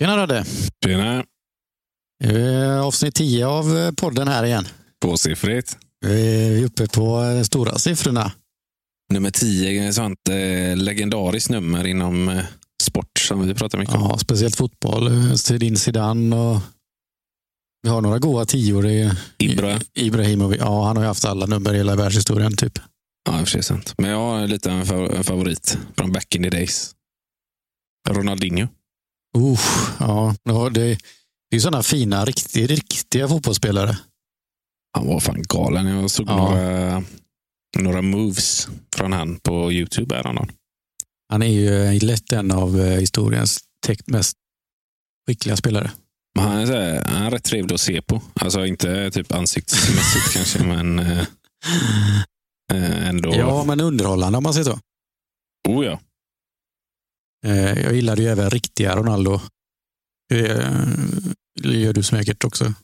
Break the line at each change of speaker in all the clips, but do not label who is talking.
Tjena Rodde!
Tjena!
Eh, Avsnitt 10 av eh, podden här igen.
Tvåsiffrigt.
Vi är uppe på eh, stora siffrorna.
Nummer 10 är ett sånt eh, legendariskt nummer inom eh, sport som vi pratar mycket om.
Ja, speciellt fotboll. Eh, Zinedine Zidane och vi har några goda tior i
Ibra.
I- Ibrahimovic. Ja, han har ju haft alla nummer i hela världshistorien typ.
Ja, i och för sig sant. Men jag har lite en, fa- en favorit från back in the days. Ronaldinho.
Usch, ja, ja, det, det är sådana fina, riktiga, riktiga fotbollsspelare.
Han var fan galen. Jag såg
Ja.
några, några moves från han på YouTube häromdagen.
Han är ju eh, lätt en av eh, historiens täckt mest skickliga spelare.
Men han, är så här, han är rätt trevlig att se på. Alltså inte typ ansiktsmässigt kanske, men eh, eh, ändå.
Ja, men underhållande om man säger så.
Oh, ja.
Eh, Jag gillade ju även riktiga Ronaldo. Eh, Det gör du säkert också.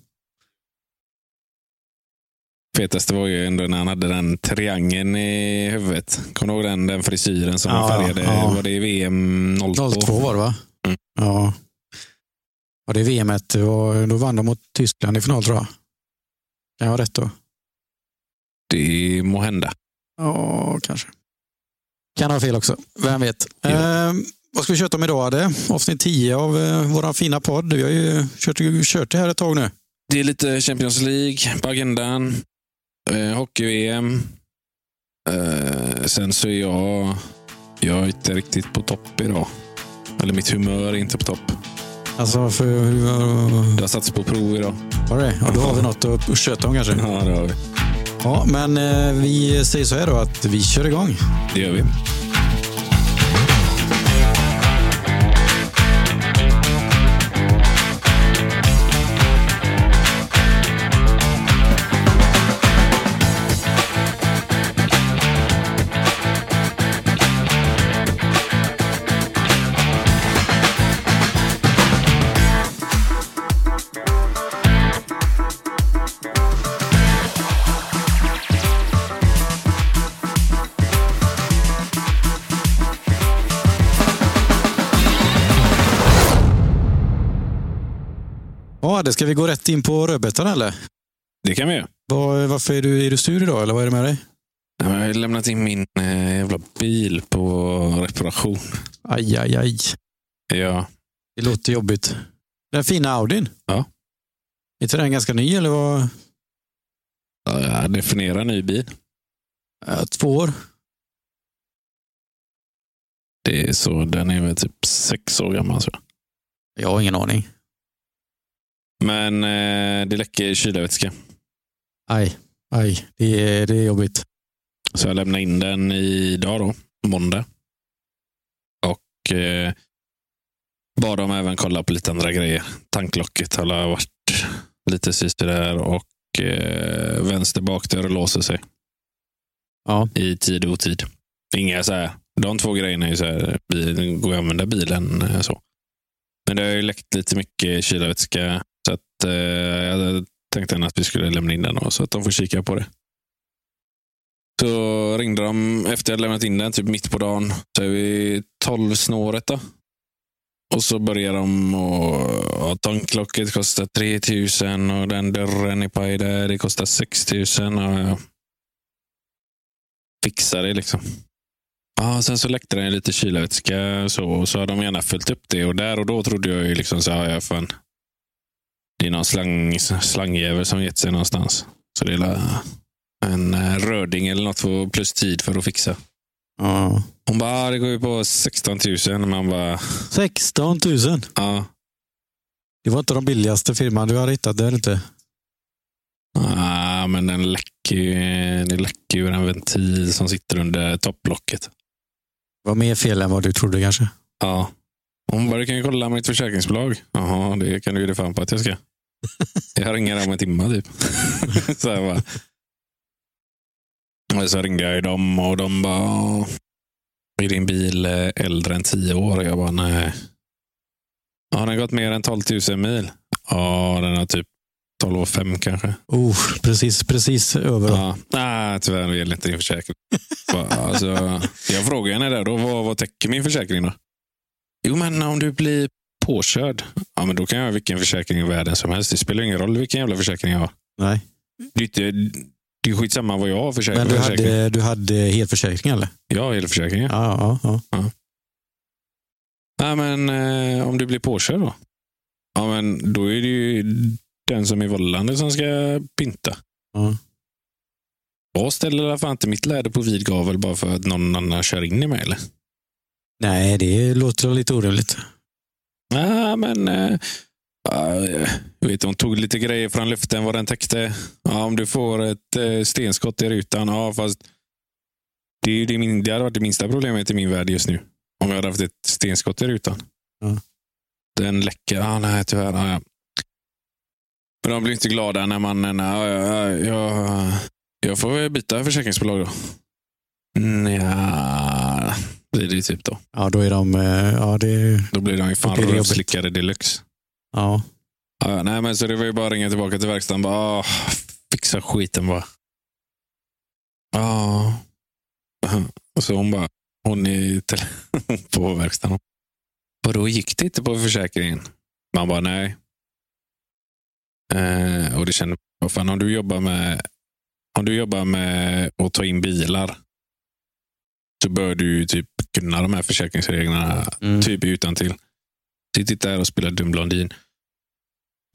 fetaste var ju ändå när han hade den triangeln i huvudet. Kommer du ihåg den, den frisyren som han
Ja,
färgade?
ja.
Var det i VM 02?
02 var det va?
Mm.
Ja. ja. Det VMet, var, då vann de mot Tyskland i final tror jag. Kan jag ha rätt då?
Det må hända.
Ja, kanske. Kan ha fel också. Vem vet?
Ja.
Eh, vad ska vi köta om idag? Adde? Avsnitt 10 av eh, vår fina podd. Vi har ju kört, kört det här ett tag nu.
Det är lite Champions League på agendan. Eh, Hockey-VM. Eh, sen så är jag... Jag är inte riktigt på topp idag. Eller mitt humör är inte på topp.
Alltså, för,
Det har satts på prov idag.
var det? Ja, då har vi något att köta om kanske.
Ja, det har vi.
Ja, men eh, vi säger så här då att vi kör igång.
Det gör vi.
Ja, det ska vi gå rätt in på rödbetan eller?
Det kan vi göra.
Var, varför är du, är du sur idag eller vad är det med dig?
Nej, men Jag har lämnat in min eh, jävla bil på reparation.
Aj, aj, aj.
Ja.
Det låter jobbigt. Den fina Audin?
Ja.
Är inte den ganska ny eller vad?
Ja, Definiera ny bil.
Ja, två år?
Det är så, den är väl typ sex år gammal tror jag.
Jag har ingen aning.
Men eh, det läcker kylarvätska.
Aj, aj. Det är, det är jobbigt.
Så jag lämnade in den idag då, måndag. Och eh, bad dem även kolla på lite andra grejer. Tanklocket har varit lite sisådär och eh, vänster bakdörr låser sig
Ja.
i tid och otid. Inga så här, de två grejerna är ju så här, bil, går jag att använda bilen eh, så. Men det har ju läckt lite mycket kylarvätska så att eh, jag tänkte att vi skulle lämna in den då, så att de får kika på det. Så ringde de efter jag lämnat in den, typ mitt på dagen. Så är vi 12 snåret då. Och så börjar de och ja, tanklocket kostar 3000 och den dörren i paj där, det kostar 6000. Och jag fixar det liksom. Ja, sen så läckte den lite kylarvätska och så, och så har de gärna fyllt upp det och där och då trodde jag ju liksom så här, ja, fan. Det är någon slang, slangjävel som gett sig någonstans. Så det är la- en eh, röding eller något för plus tid för att fixa.
ja.
Hon bara, ah, det går ju på 16 000. Man bara,
16 000.
ja.
Det var inte de billigaste firman du hade hittat där inte.
Ah, men den läcker ju, det läcker ju ur en ventil som sitter under topplocket.
Det var mer fel än vad du trodde kanske.
Ja. Hon bara, du kan ju kolla med ditt försäkringsbolag. Jaha, det kan du ju det fan på att jag ska. Jag ringer om en timme typ. så jag bara. Och så ringde jag ju dem och de bara, "Ja, är din bil eh, äldre än tio år? Och jag bara, nej. Har den gått mer än 12 000 mil? Ja, den har typ 12 5 kanske.
Oh, precis, precis över.
Ja. Nej, tyvärr det gäller inte din försäkring. Bara, alltså, jag frågade henne där då, vad, vad täcker min försäkring då? Jo, men om du blir påkörd. Ja, men då kan jag ha vilken försäkring i världen som helst. Det spelar ingen roll vilken jävla försäkring jag har.
Nej.
Det är, inte, det är skitsamma vad jag har för försäkring.
Men du
försäkring.
hade, du hade helförsäkring eller?
Jag har elförsäkring. Ja.
Ja, ja, ja.
Nej, men eh, om du blir påkörd då? Ja, men då är det ju den som är vållande som ska pinta.
Ja.
Jag ställer fan inte mitt läder på vid gavel bara för att någon annan kör in i mig eller?
Nej, det låter lite orimligt.
Nej, men... Eh, eh, jag vet, hon tog lite grejer från luften, vad den täckte. Ja, om du får ett eh, stenskott i rutan. Ja, fast det, är ju det, min, det hade varit det minsta problemet i min värld just nu. Om jag hade haft ett stenskott i rutan.
Ja.
Den läcker. Ah, nej, tyvärr. Ah, ja. Men de blir inte glada när man... när- ja, ja, jag, jag får väl byta försäkringsbolag då. Nja, blir det typ då.
Ja, då är de... eh, Ja, det...
Då blir de ju fan
Då blir det jobbigt.
rövslickade deluxe.
Ja.
Ja, nej, men så det var ju bara att ringa tillbaka till verkstaden. Bara, ah, fixa skiten bara. Ja. Och så hon bara, hon är till, på verkstaden. Vadå, gick det inte på försäkringen? Man bara, nej. Eh, och det kände vad fan, om du jobbar med om du jobbar med att ta in bilar så bör du ju typ kunna de här försäkringsreglerna
Mm.
typ utan till. Sitt inte här och spela dum blondin.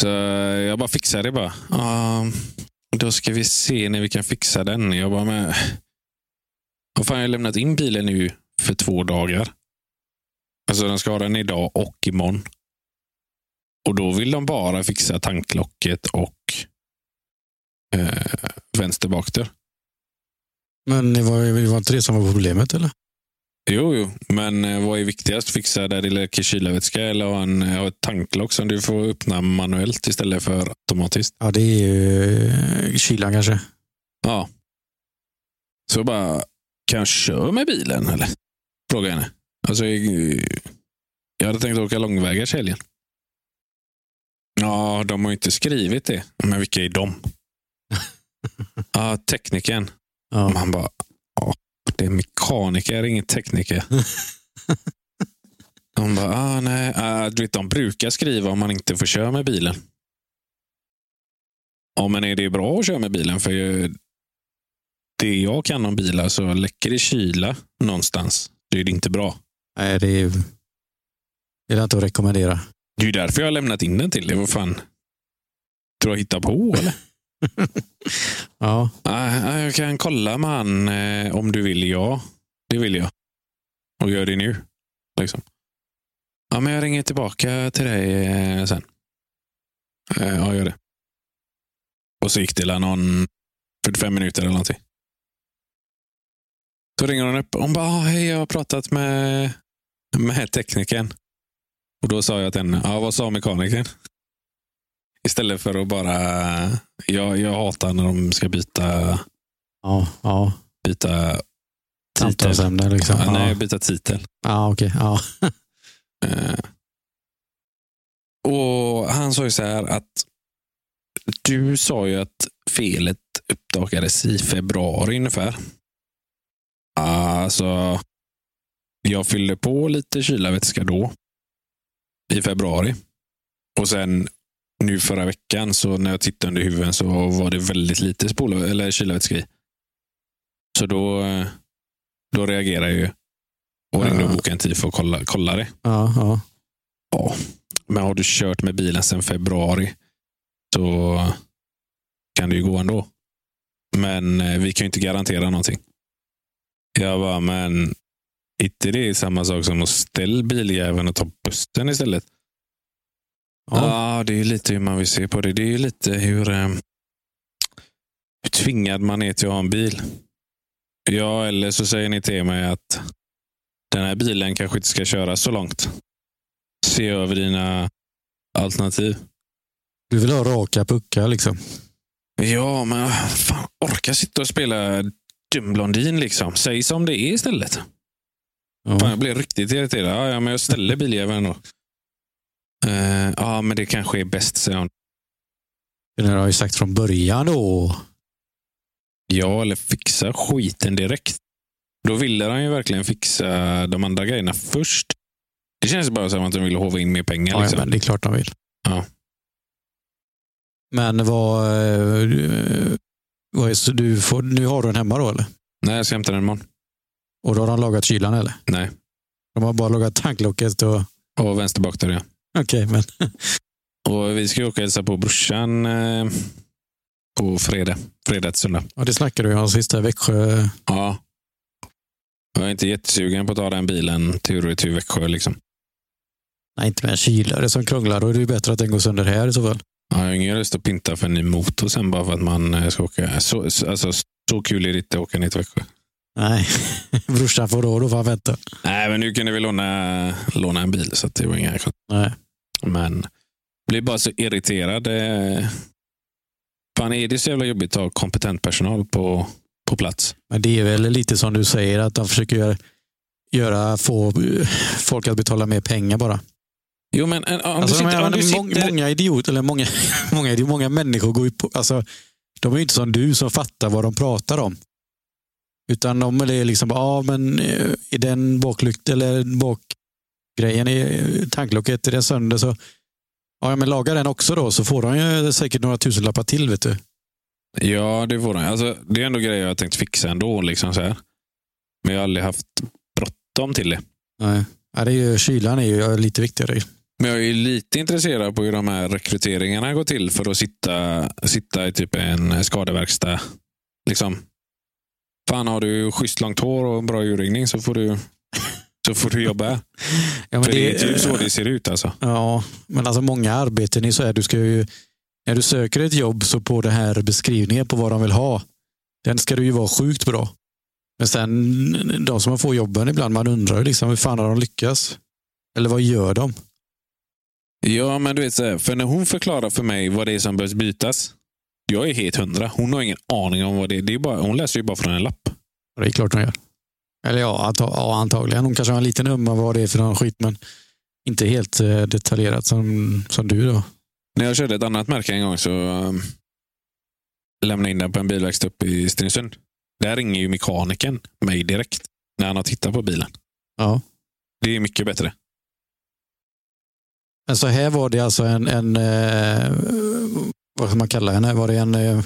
Så jag bara fixar det bara. Ja, då ska vi se när vi kan fixa den. Jag bara med. Vad fan, jag har lämnat in bilen nu för två dagar. Alltså de ska ha den idag och imorgon. Och då vill de bara fixa tanklocket och eh, vänster bakdörr.
Men det var, det var inte det som var problemet eller?
Jo, jo, men eh, vad är viktigast? Fixa där det läcker kylarvätska eller ha, en, eh, ha ett tanklock som du får öppna manuellt istället för automatiskt?
Ja, det är ju eh, kylan kanske.
Ja. Så jag bara, kan jag köra med bilen eller? Frågade jag henne. Alltså, jag, jag hade tänkt åka långvägars i helgen. Ja, de har ju inte skrivit det. Men vilka är de? ja, teknikern. Och
Ja.
man bara, "Ja, det är mekaniker, ingen tekniker. De bara, ah, nej, ah, du vet, de brukar skriva om man inte får köra med bilen. Ja, men är det bra att köra med bilen? För eh, det jag kan om bilar, så läcker det kyla någonstans. Det är det inte bra.
Nej, det är, det är inte att rekommendera.
Det är ju därför jag har lämnat in den till dig. Vad fan? Tror jag hittar på eller?
Ja,
Nej, nej, jag kan kolla med han eh, om du vill. Ja, det vill jag. Och gör det nu. Liksom. Ja, men jag ringer tillbaka till dig eh, sen. Eh, ja, gör det. Och så gick det la någon 45 minuter eller någonting. Då ringer hon upp. Hon bara, "Ah, hej, jag har pratat med, med teknikern. Och då sa jag till henne, ja, vad sa mekanikern? Istället för att bara... Jag, jag hatar när de ska byta
ja, ja.
byta titel.
Samtalsämne liksom.
Ja, nej,
Ja,
byta titel.
ja okej. Ja.
Eh. Och Han sa ju så här att du sa ju att felet uppdagades i februari ungefär. Alltså, jag fyllde på lite kylarvätska då i februari. Och sen nu förra veckan så när jag tittade under huven så var det väldigt lite spola, eller kylarvätska i. Så då, eh, då reagerade jag ju och ringde och bokade en tid för att kolla, kolla det.
Ja, ja.
Men har du kört med bilen sedan februari så kan det ju gå ändå. Men eh, vi kan ju inte garantera någonting. Jag bara, men inte det är samma sak som att ställa biljäveln och ta bussen istället?
ja.
Ja, det är ju lite hur man vill se på det. Det är ju lite hur, eh, hur tvingad man är till att ha en bil. Ja, eller så säger ni till mig att den här bilen kanske inte ska köra så långt. Se över dina alternativ.
Du vill ha raka puckar liksom.
Ja, men fan, orka sitta och spela dum blondin liksom. Säg som det är istället. Fan,
Ja.
jag blev riktigt irriterad. Ja, ja, men jag ställer biljäveln då. Eh, ja, men det kanske är bäst, säger hon.
Det där har jag ju sagt från början då.
Ja, eller fixa skiten direkt. Då ville han ju verkligen fixa de andra grejerna först. Det känns bara som att de vill håva in mer pengar.
Ja,
liksom.
men det är klart de vill.
Ja.
Men vad... eh, vad är, så du får, nu har du den hemma då eller?
Nej, jag ska hämta den imorgon.
Och då har de lagat kylan eller?
Nej.
De har bara lagat tanklocket och...
Och vänster bak där, ja.
Okej, men...
Och vi ska ju åka och hälsa på brorsan eh, på fredag. Fredag till söndag.
Ja, det snackade vi om sista Växjö.
Ja. Jag är inte jättesugen på att ta den bilen tur och retur Växjö. Liksom.
Nej, inte med en kylare som krånglar. Då är det ju bättre att den går sönder här i så fall.
Ja, Jag har ingen lust att pinta för en ny motor sen bara för att man eh, ska åka. Så, så- alltså, så kul är det inte att åka ner till Växjö.
Nej, brorsan får då, då får han vänta.
Nej, men nu kunde vi låna, låna en bil så att det var inga konstigheter.
Nej.
Men blir bara så irriterad. eh. Fan, är det så jävla jobbigt att ha kompetent personal på, på plats?
Men det är väl lite som du säger, att de försöker göra, göra få eh, folk att betala mer pengar bara.
Jo, men eh, om
Alltså,
du sitter...
men,
Om du
må-
sitter
Många idioter, eller många, många, idioter, många människor går ju på... Alltså, de är ju inte som du som fattar vad de pratar om. Utan de är liksom, ja ah, men eh, i den baklykt eller bakgrejen i eh, tanklocket, är den sönder så ja ja, men laga den också då så får de ju säkert några tusenlappar till vet du.
Ja, det får den. Alltså, det är ändå grejer jag har tänkt fixa ändå. Liksom så här. Men jag har aldrig haft bråttom till det.
Nej. Ja, det är ju, kylan är ju lite viktigare.
Men jag är ju lite intresserad på hur de här rekryteringarna går till för att sitta, sitta i typ en skadeverkstad. Liksom. Fan, har du schysst långt hår och en bra urringning så får du, så får du jobba. här.
Ja,
för det är typ så det ser ut alltså.
Ja, men alltså många arbeten är så här, du ska ju, när du söker ett jobb så på den här beskrivningen på vad de vill ha, den ska du ju vara sjukt bra. Men sen de som man får jobben ibland, man undrar ju liksom hur fan har de lyckats? Eller vad gör de?
Ja, men du vet, så här, för när hon förklarar för mig vad det är som behövs bytas. Jag är helt hundra. Hon har ingen aning om vad det är. Det är bara, hon läser ju bara från en lapp.
Ja, Det är klart de gör. Eller ja, anta- ja antagligen. Hon kanske har en liten hum om vad det är för någon skit, men inte helt eh, detaljerat som, som du då.
När jag körde ett annat märke en gång så um, lämnade jag in den på en bilverkstad uppe i Stenungsund. Där ringer ju mekanikern mig direkt när han har tittat på bilen.
Ja.
Det är mycket bättre.
Men så här var det alltså en, en eh, vad ska man kalla henne? Var det en eh,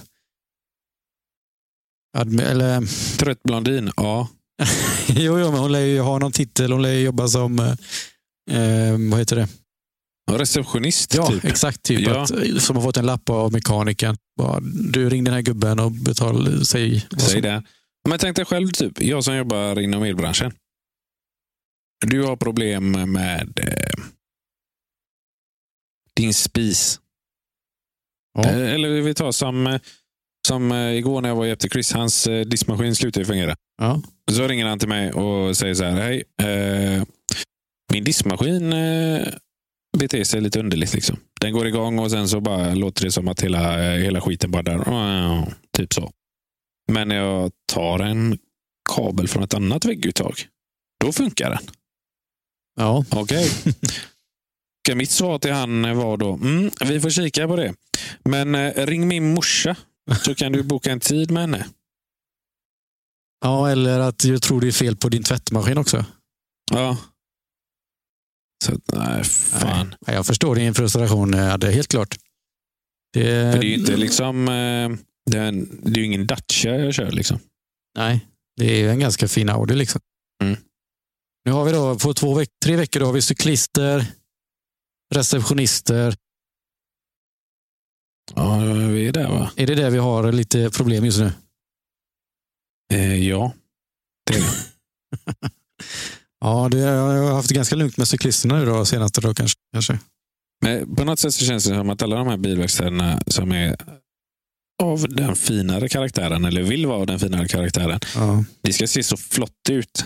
admi- eller,
Trött blondin? Ja.
jo, jo, men hon lär ju ha någon titel. Hon lär ju jobba som, eh, eh, vad heter det?
Och Receptionist?
Ja,
typ.
exakt. Typ
Ja.
Att, som har fått en lapp av mekanikern. Bara, Du ring den här gubben och betal, säg. vad
Säg
som-
det. Men tänk dig själv, typ, jag som jobbar inom elbranschen. Du har problem med eh, din spis.
Ja.
Eh, Eller vi tar som, eh, som eh, igår när jag var och hjälpte Chris. Hans eh, diskmaskin slutade ju fungera.
Ja.
Så ringer han till mig och säger så här. Hej, eh, min diskmaskin eh, beter sig lite underligt. Liksom. Den går igång och sen så bara låter det som att hela, eh, hela skiten bara där. "Wow", Typ så. Men när jag tar en kabel från ett annat vägguttag, då funkar den.
ja.
Okej. Och Mitt svar till han var då, mm, vi får kika på det. Men eh, ring min morsa så kan du boka en tid med henne.
ja, eller att jag tror det är fel på din tvättmaskin också.
Ja. Så att, nej, fan.
Nej, jag förstår din frustration, eh, det är helt klart. Det,
För det är ju inte liksom, eh, det är, en, det är ju ingen Dacia jag kör liksom.
Nej, det är ju en ganska fin Audi liksom.
Mm.
Nu har vi då, på två veck tre veckor då har vi cyklister, receptionister.
Ja, vi är där va?
Är det där vi har lite problem just nu?
Eh, ja.
Ja, det, jag har haft ganska lugnt med cyklisterna nu då, senaste då kanske. kanske.
Men på något sätt så känns det som att alla de här bilverkstäderna som är av den finare karaktären, eller vill vara av den finare karaktären,
Ja.
det ska se så flott ut.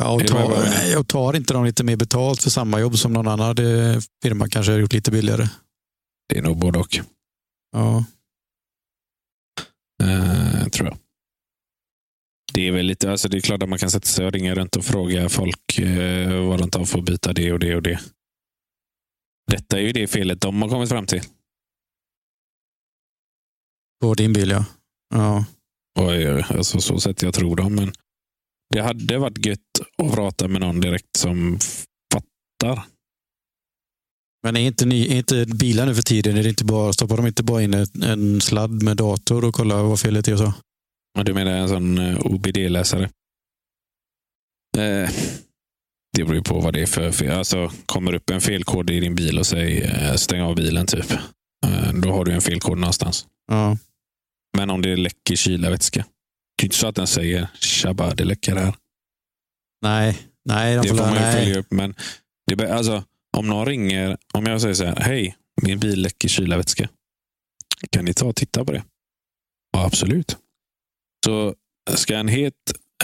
Ja, och,
Är det vad jag
tar,
menar?
nej, och tar inte de lite mer betalt för samma jobb som någon annan eh, firma kanske har gjort lite billigare.
Det är nog både och.
Ja.
Eh, tror jag. Det är väl lite, alltså det är klart att man kan sätta sig och ringa runt och fråga folk eh, vad de tar för att byta det och det och det. Detta är ju det felet de har kommit fram till.
På din bil ja. ja.
Och eh, alltså så sätt jag tror dem, men det hade varit gött att prata med någon direkt som f- hattar.
Men är inte, ny, är inte bilar nu för tiden, är det inte bara, stoppar de inte bara in en, en sladd med dator och kollar vad felet är och så?
Ja, Du menar en sån eh, OBD-läsare? Eh, det beror ju på vad det är för fel. Alltså, kommer upp en felkod i din bil och säger eh, stäng av bilen typ. Eh, då har du en felkod någonstans.
Ja.
Men om det läcker kylarvätska. Det är ju inte så att den säger tjabba, det läcker här.
Nej, nej, de
Det
får
får man ju
nej.
följa upp. Men det, är bä- alltså, om någon ringer, om jag säger så här, hej, min bil läcker kylarvätska. Kan ni ta och titta på det? Ja, absolut. Så ska en, het,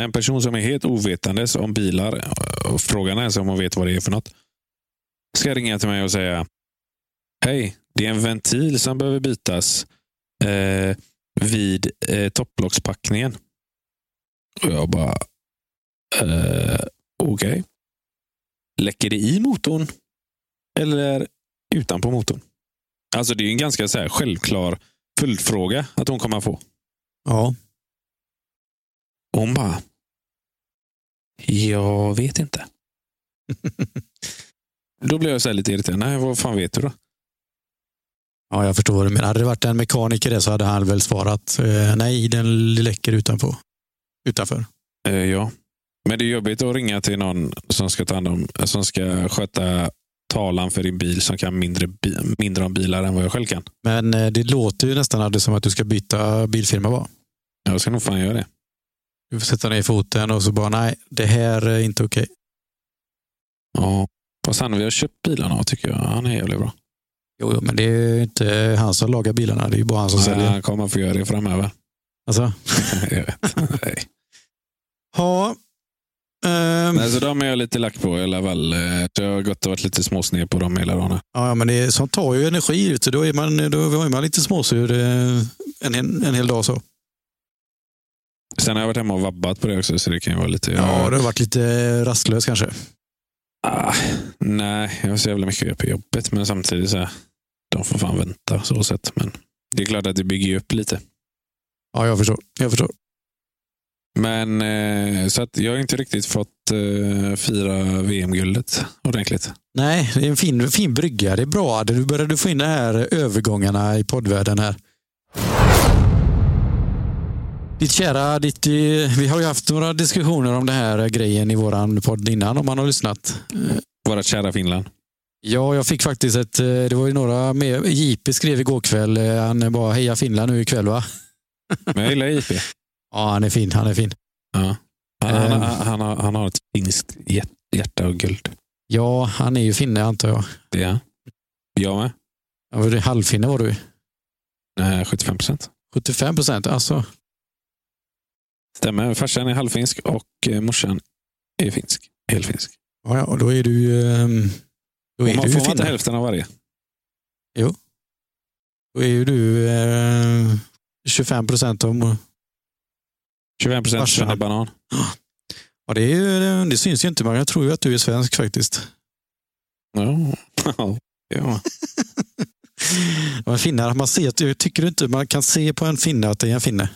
en person som är helt ovetandes om bilar, och frågan är ens om hon vet vad det är för något, ska ringa till mig och säga, hej, det är en ventil som behöver bytas eh, vid eh, topplockspackningen. Och jag bara, eh, Okej. Läcker det i motorn eller utanpå motorn? Alltså det är ju en ganska så här självklar följdfråga att hon kommer att få.
Ja,
Och hon bara... Jag vet inte. då blir jag så här lite irriterad. Nej, vad fan vet du då?
ja, jag förstår. Men hade det varit en mekaniker där så hade han väl svarat eh, nej, den läcker utanpå. utanför.
Eh, ja. Men det är jobbigt att ringa till någon som ska, ta hand om, som ska sköta talan för din bil som kan mindre, bi- mindre om bilar än vad jag själv kan.
Men eh, det låter ju nästan aldrig som att du ska byta bilfirma bara.
Jag ska nog fan göra det.
Du får sätta ner foten och så bara nej, det här är inte okej.
Ja. Fast han vi har köpt bilarna av tycker jag. Han är jävligt bra.
Jo, jo, men det är ju inte han som lagar bilarna, det är ju bara han som
Nej,
säljer.
han kommer få göra det framöver.
Alltså.
jag vet. Nej.
Ja. Ehm,
Nej, så de är jag lite lack på i alla fall. Eh, så Jag har gått och varit lite småsned på dem hela dagen.
Ja, ja, men det är, sånt tar ju energi. Vet du. Då är man, då är man lite småsur eh, en, en, en hel dag. så.
Sen har jag varit hemma och vabbat på det också, så det kan ju vara lite...
Ja, du har varit lite rastlös kanske.
ah, nej, jag har så jävla mycket att göra på jobbet, men samtidigt så här, de får fan vänta så sett. Men det är klart att det bygger ju upp lite.
Ja, jag förstår. Jag förstår.
Men eh, så att jag har inte riktigt fått eh, fira VM-guldet ordentligt.
Nej, det är en fin, fin brygga. Det är bra. Du började få in de här övergångarna i poddvärlden här. Ditt kära, ditt, eh, vi har ju haft några diskussioner om den här grejen i våran podd innan om man har lyssnat.
Våra kära Finland.
Ja, jag fick faktiskt ett, eh, det var ju några med, JP skrev igår kväll, eh, han bara heja Finland nu ikväll va?
Men jag gillar JP.
Ja, han är fin, han är fin.
Ja. Han, han,
Ehm.
han, han, har, han har ett finskt hjärt- hjärta och guld.
Ja, han är ju finne antar jag.
Det är han. Jag med.
Ja, var du Halvfinne var du.
Nej, 75 Eh, procent.
75 procent, alltså.
Stämmer. Farsan är halvfinsk och eh, morsan är finsk. Helfinsk.
Ja, ja, då är du ehm, då är
Och man
du
får
ju
man inte
finne.
hälften av varje.
Då är ju du eh, 25 procent om...
25 procent
Farsan.
är banan.
Ja, det, är, ju- eh, det syns ju inte, men jag tror ju att du är svensk faktiskt.
Ja. ja.
Men finnar, man ser, att- jag tycker inte man kan se på en finne att det är en finne.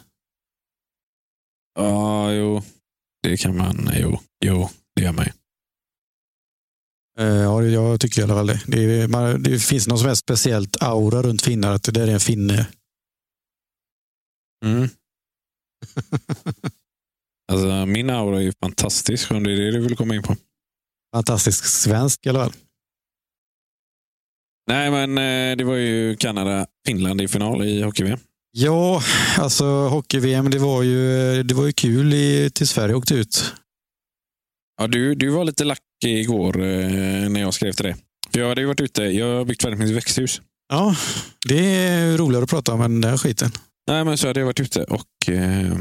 ja, jo. Det kan man. Jo, jo. det gör man ju.
Eh, Ja, det- jag tycker i alla fall det. Det, är, man, det finns någon som helst speciellt aura runt finnar, att det där är en finne.
Mm. Alltså, min aura är ju fantastisk. Om det är det du vill komma in på.
Fantastisk svensk i alla fall.
Nej, men eh, det var ju Kanada-Finland i final i hockey-VM.
Ja, alltså hockey-VM, det var ju, eh, det var ju kul i, till Sverige åkte ut.
Ja, du, du var lite lack igår eh, när jag skrev till dig. För jag hade ju varit ute. Jag har byggt väldigt mycket växthus.
Ja, det är roligare att prata om än den här skiten.
Nej, men så hade jag varit ute och eh,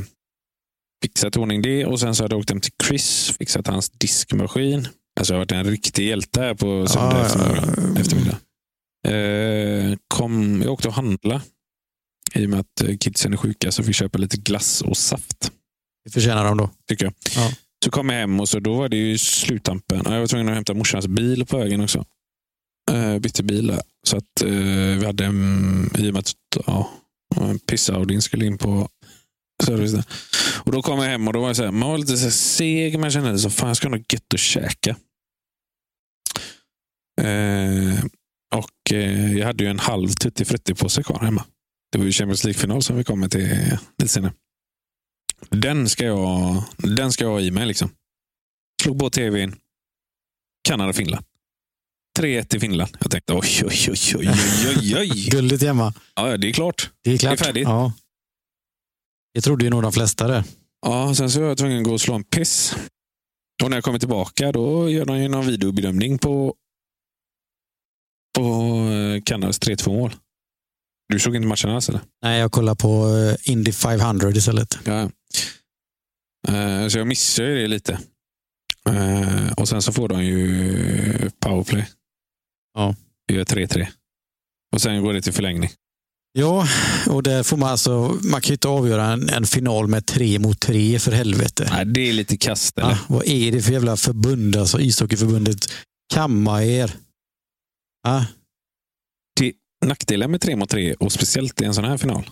fixat i ordning det och sen så hade jag åkt hem till Chris, fixat hans diskmaskin. Alltså jag har varit en riktig hjälte här på
Ah,
söndag eftermiddag. eftermiddag. Eh, kom, jag åkte och handla. I och med att eh, kidsen är sjuka så fick jag köpa lite glass och saft.
Det förtjänar de då.
tycker jag.
Ja.
Så kom jag hem och så då var det ju sluttampen. Ja, Jag var tvungen att hämta morsans bil på vägen också. Eh, bytte bil där. Så att eh, vi hade, mm, i och med att ja, en pissaudin skulle in på service där. Och då kom jag hem och då var liksom, jag så här, man var lite så här seg, man kände så fan jag ska ha något gött att käka. eh, jag hade ju en halv tutti frutti påse kvar hemma. Det var ju Champions League-final som vi kommer till eh, lite senare. Den ska jag, den ska jag ha i mig liksom. Slog på tvn. Kanada-Finland. 3-1 till Finland. Jag tänkte oj, oj, oj, oj, oj, oj.
Gulligt hemma.
Ja, ja, det är klart.
Det är klart.
Det är färdigt.
Ja. Det trodde ju nog de flesta där.
Ja, sen så var jag tvungen att gå och slå en piss. Och när jag kommer tillbaka då gör de ju någon videobedömning på, på eh, Kanadas 3-2 mål. Du såg inte matchen alls eller?
Nej, jag kollar på eh, Indy 500 istället.
Ja. Eh, Så jag missar ju det lite. Eh, Och sen så får de ju powerplay.
Ja.
Det gör 3-3. Och sen går det till förlängning.
Ja, och där får man alltså, man kan ju inte avgöra en, en final med tre mot tre för helvete.
Nej, det är lite kast eller?
Ah, vad är det för jävla förbund, alltså ishockeyförbundet? Kamma er. Ah,
Nackdelen med 3 mot 3 och speciellt i en sån här final.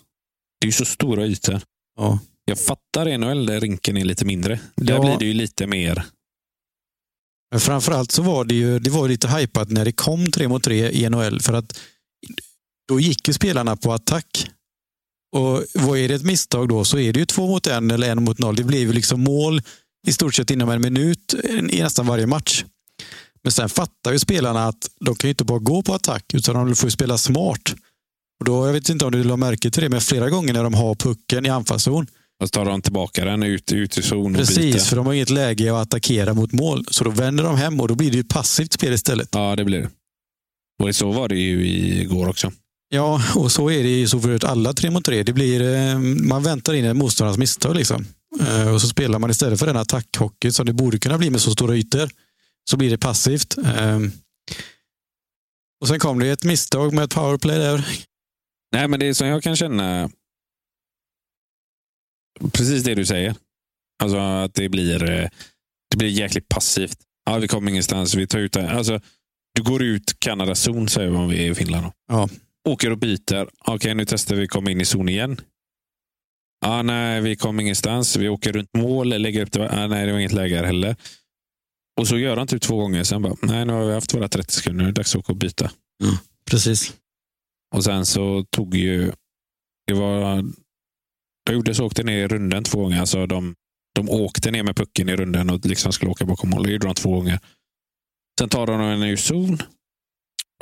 Det är ju så stora ytor.
ja.
Jag fattar NHL där rinken är lite mindre. Där
Ja.
blir det ju lite mer.
Men framförallt så var det ju det var ju lite hypat när det kom tre mot tre i NHL för att då gick ju spelarna på attack. Och vad är det ett misstag då så är det ju två mot en eller en mot noll. Det blev ju liksom mål i stort sett inom en minut i nästan varje match. Men sen fattar ju spelarna att de kan ju inte bara gå på attack utan de får ju spela smart. Och då, jag vet inte om du la märke till det, men flera gånger när de har pucken i anfallszon
Och så tar de tillbaka den ut, ut i zon och
Precis,
biter.
för de har inget läge att attackera mot mål. Så då vänder de hem och då blir det ju ett passivt spel istället.
Ja, det blir det. Och så var det ju igår också.
Ja, och så är det ju så förut. Alla tre mot tre. Det blir, eh, man väntar in en motståndarens misstag. Liksom. Eh, Och så spelar man istället för den attackhockey som det borde kunna bli med så stora ytor. Så blir det passivt. Eh, Och sen kom det ett misstag med ett powerplay där.
Nej, men det är som jag kan känna. Precis det du säger. Alltså att det blir, eh, det blir jäkligt passivt. Ja, vi kommer ingenstans. Vi tar ut det. Alltså, du går ut Kanadas zon, säger vi om vi är i Finland. då.
Ja.
Åker och byter. Okej, nu testar vi komma in i zon igen. Ah, nej, vi kom ingenstans. Vi åker runt mål, lägger upp det. Ah, nej, det var inget läge här heller. Och så gör han typ två gånger. Sen bara, nej, nu har vi haft våra 30 sekunder. Nu är det dags att åka och byta.
Precis.
Och sen så tog ju... Det var... De gjorde så åkte ner i runden två gånger. Alltså de, de åkte ner med pucken i runden och liksom skulle åka bakom mål. Det gjorde de två gånger. Sen tar de en ur zon.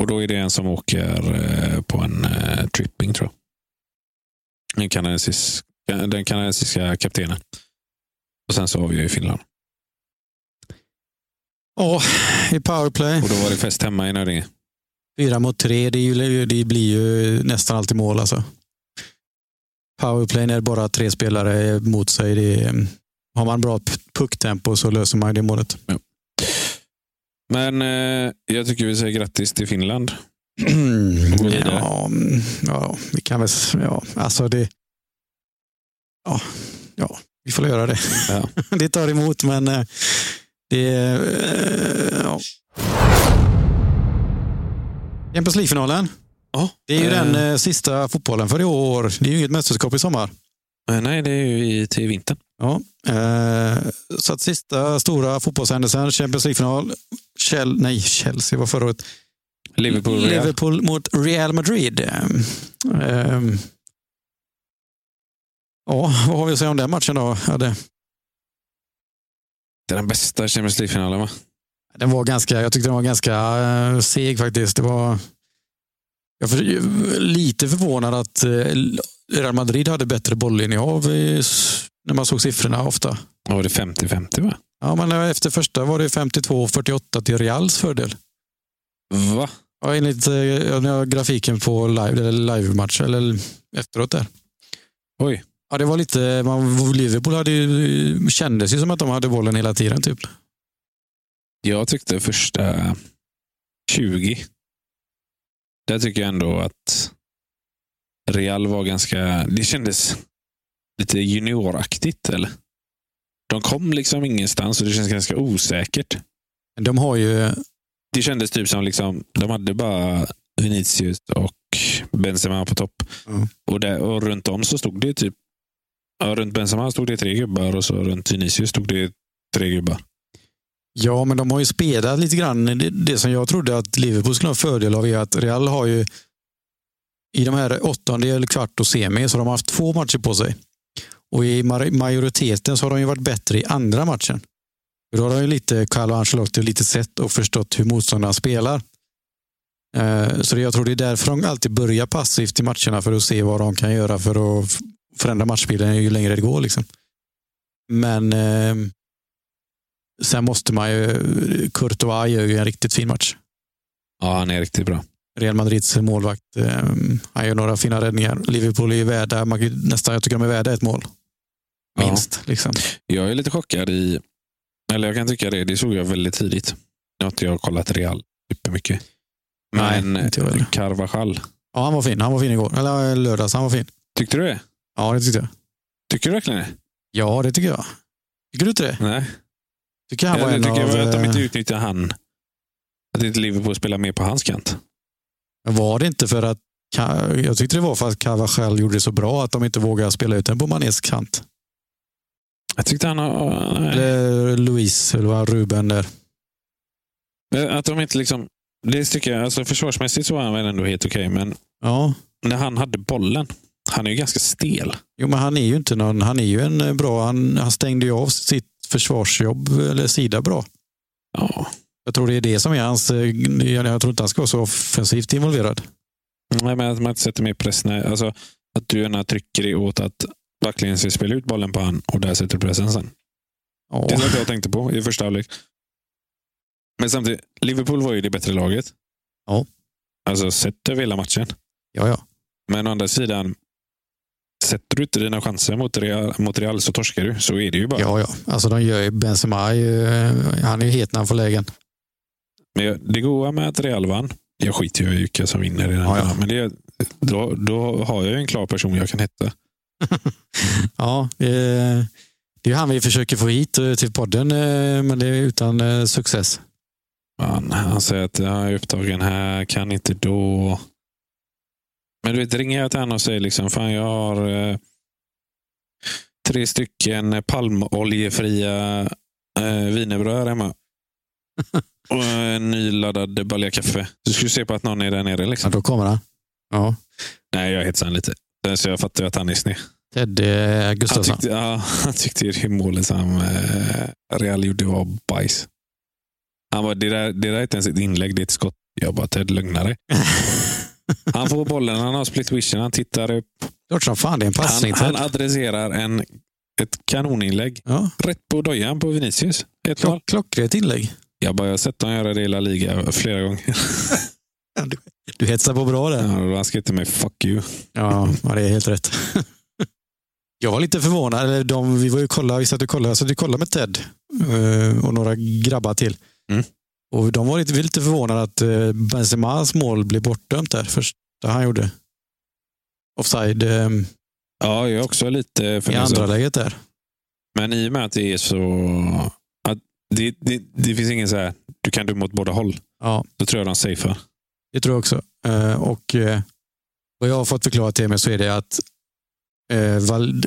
Och då är det en som åker eh, på en eh, tripping, tror jag. Den kanadensiska, den kanadensiska kaptenen. Och sen så avgör ju Finland.
Ja, i powerplay.
Och då var det fest hemma i Nödinge.
Fyra mot tre, det, är ju, det blir ju nästan alltid mål alltså. Powerplay när bara tre spelare mot sig. Det är, har man bra p- pucktempo så löser man ju det målet.
Men eh, jag tycker vi säger grattis till Finland. går vidare.
ja, mm, ja, vi kan väl... s- Ja, alltså det... Ja, ja vi får göra det.
Ja.
det tar emot, men eh, det... eh, Ja. Champions League-finalen. Det är ju
Eh,
den eh, sista fotbollen för i år. Det är ju inget mästerskap i sommar.
eh, Nej, det är ju i, till vintern.
Ja. Eh, så att sista stora fotbollshändelsen, Champions League-final. Chel- nej, Chelsea var förra året.
Liverpool, Real.
Liverpool mot Real Madrid. Eh, ja, vad har vi att säga om den matchen då? Ja, det,
Det är den bästa Champions League-finalen va?
den var ganska, jag tyckte den var ganska eh, seg faktiskt. Det var jag var lite förvånad att eh, Real Madrid hade bättre bollinnehav i s- när man såg siffrorna ofta.
Ja, var det 50-50 va?
Ja, men eh, efter första var det 52-48 till Reals fördel.
Va?
Ja, enligt eh, jag har grafiken på live, eller live-match, eller efteråt där.
Oj.
Ja, det var lite, man, Liverpool hade ju, kändes ju som att de hade bollen hela tiden. typ.
Jag tyckte första 20. Där tycker jag ändå att Real var ganska... Det kändes lite junioraktigt eller? De kom liksom ingenstans och det känns ganska osäkert.
Men De har ju,
Det kändes typ som liksom, de hade bara Vinicius och Benzema på topp.
Mm.
Och, där, och runt om så stod det typ... Ja, runt Benzema stod det tre gubbar och så runt Vinicius stod det tre gubbar.
Ja, men de har ju spelat lite grann. Det, det som jag trodde att Liverpool skulle ha fördel av är att Real har ju i de här åttondel, kvart och semi så har de haft två matcher på sig. Och i ma- majoriteten så har de ju varit bättre i andra matchen. För Då har de ju lite, Carlo Ancelotti, lite sett och förstått hur motståndarna spelar. Eh, Så det- jag tror det är därför de alltid börjar passivt i matcherna för att se vad de kan göra för att f- förändra matchbilden ju längre det går. Liksom. Men eh, sen måste man ju... Courtois gör ju en riktigt fin match.
Ja, han är riktigt bra.
Real Madrids målvakt. eh, Han gör några fina räddningar. Liverpool är ju värda, man kan ju nästan, jag tycker de är värda ett mål.
Ja.
Minst. Liksom.
Jag är lite chockad i... Eller jag kan tycka det. Det såg jag väldigt tidigt. Nu har inte jag kollat Real supermycket. Men
Nej, inte jag heller.
Carvajal.
Ja, han var fin. Han var fin igår. Eller eh, lördags, han var fin.
Tyckte du det?
Ja, det tyckte jag.
Tycker du verkligen det?
Ja, det tycker jag. Tycker du inte det?
Nej.
Tycker han var
Eller
en
tycker
av...
jag att de inte
eh,
utnyttjar han. Att inte Liverpool spelar mer på hans kant.
Var det inte för att... Ka- Jag tyckte det var för att Cavachal gjorde det så bra att de inte vågade spela ut den på Manés kant.
Jag tyckte han... har-
Eller Luis, eller vad Ruben där.
Nej. Att de inte liksom... Det tycker jag, alltså försvarsmässigt så var han väl ändå helt okej, men
Ja,
när han hade bollen. Han är ju ganska stel.
Jo, men han är ju inte någon, han är ju en eh, bra, han, han stängde ju av sitt försvarsjobb eller sida bra.
Ja.
Jag tror det är det som är hans, eh, jag jag tror inte han ska vara så offensivt involverad.
Nej, men att man inte sätter mer press. När, alltså, att du gärna trycker dig åt att verkligen ska spela ut bollen på han och där sätter du pressen sen.
Ja,
Det är något jag tänkte på i första halvlek. Men samtidigt, Liverpool var ju det bättre laget.
Ja.
Alltså sett över hela matchen.
ja, ja.
Men å andra sidan, sätter du inte dina chanser mot Real, mot Real så torskar du. Så är det ju bara.
ja, ja. Alltså de gör ju Benzema, är ju, eh, han är ju het när han får lägen.
Men jag, det goa med att Real vann, jag skiter ju i vilka som vinner i den
Ja, ja.
här, men det, då, då har jag ju en klar person jag kan hitta.
Ja, eh, det är ju han vi försöker få hit eh, till podden, eh, men det är utan eh, success.
Han, han säger att jag är upptagen här, kan inte då. Men du vet, ringer jag till honom och säger liksom, fan jag har eh, tre stycken palmoljefria eh, wienerbröd hemma. och en nyladdad balja kaffe. Du skulle se på att någon är där nere.
Ja,
Liksom.
då kommer han. Ja.
Nej, jag hetsade lite. Så jag fattar ju att han är sned.
Ted eh,
Han
Gustafsson.
tyckte, ja, han tyckte ju det målet som eh, Real gjorde var bajs. Han bara, det där, det där är inte ens ett inlägg, det är ett skott. Jag bara, Ted, lugna dig. Han får bollen, han har split vision, han tittar upp.
Klart som fan det är en passning.
Han,
Ted.
han adresserar en, ett kanoninlägg
Ja,
rätt på dojan på Vinicius. Ett mål.
klock, klockrent inlägg.
Jag bara, jag har sett dem göra det i La Liga flera gånger.
Du hetsar på bra där.
Ja, och han skrev till mig, fuck you.
Ja, ja, det är helt rätt. Jag var lite förvånad. Eller de, vi var ju kolla, vi satt och kollade, så vi kollade med Ted eh, och några grabbar till.
Mm.
Och de var lite, vi lite förvånade att eh, Benzemas mål blev bortdömt där, första han gjorde. Offside eh,
Ja, jag är också lite
i
förnöjsam.
andra läget där.
Men i och med att det är så... Att det, det, det finns ingen så här, du kan döma åt båda håll.
Ja,
Då tror jag de safear.
det tror jag också. Eh, och eh, vad jag har fått förklarat till mig så är det att eh, Val,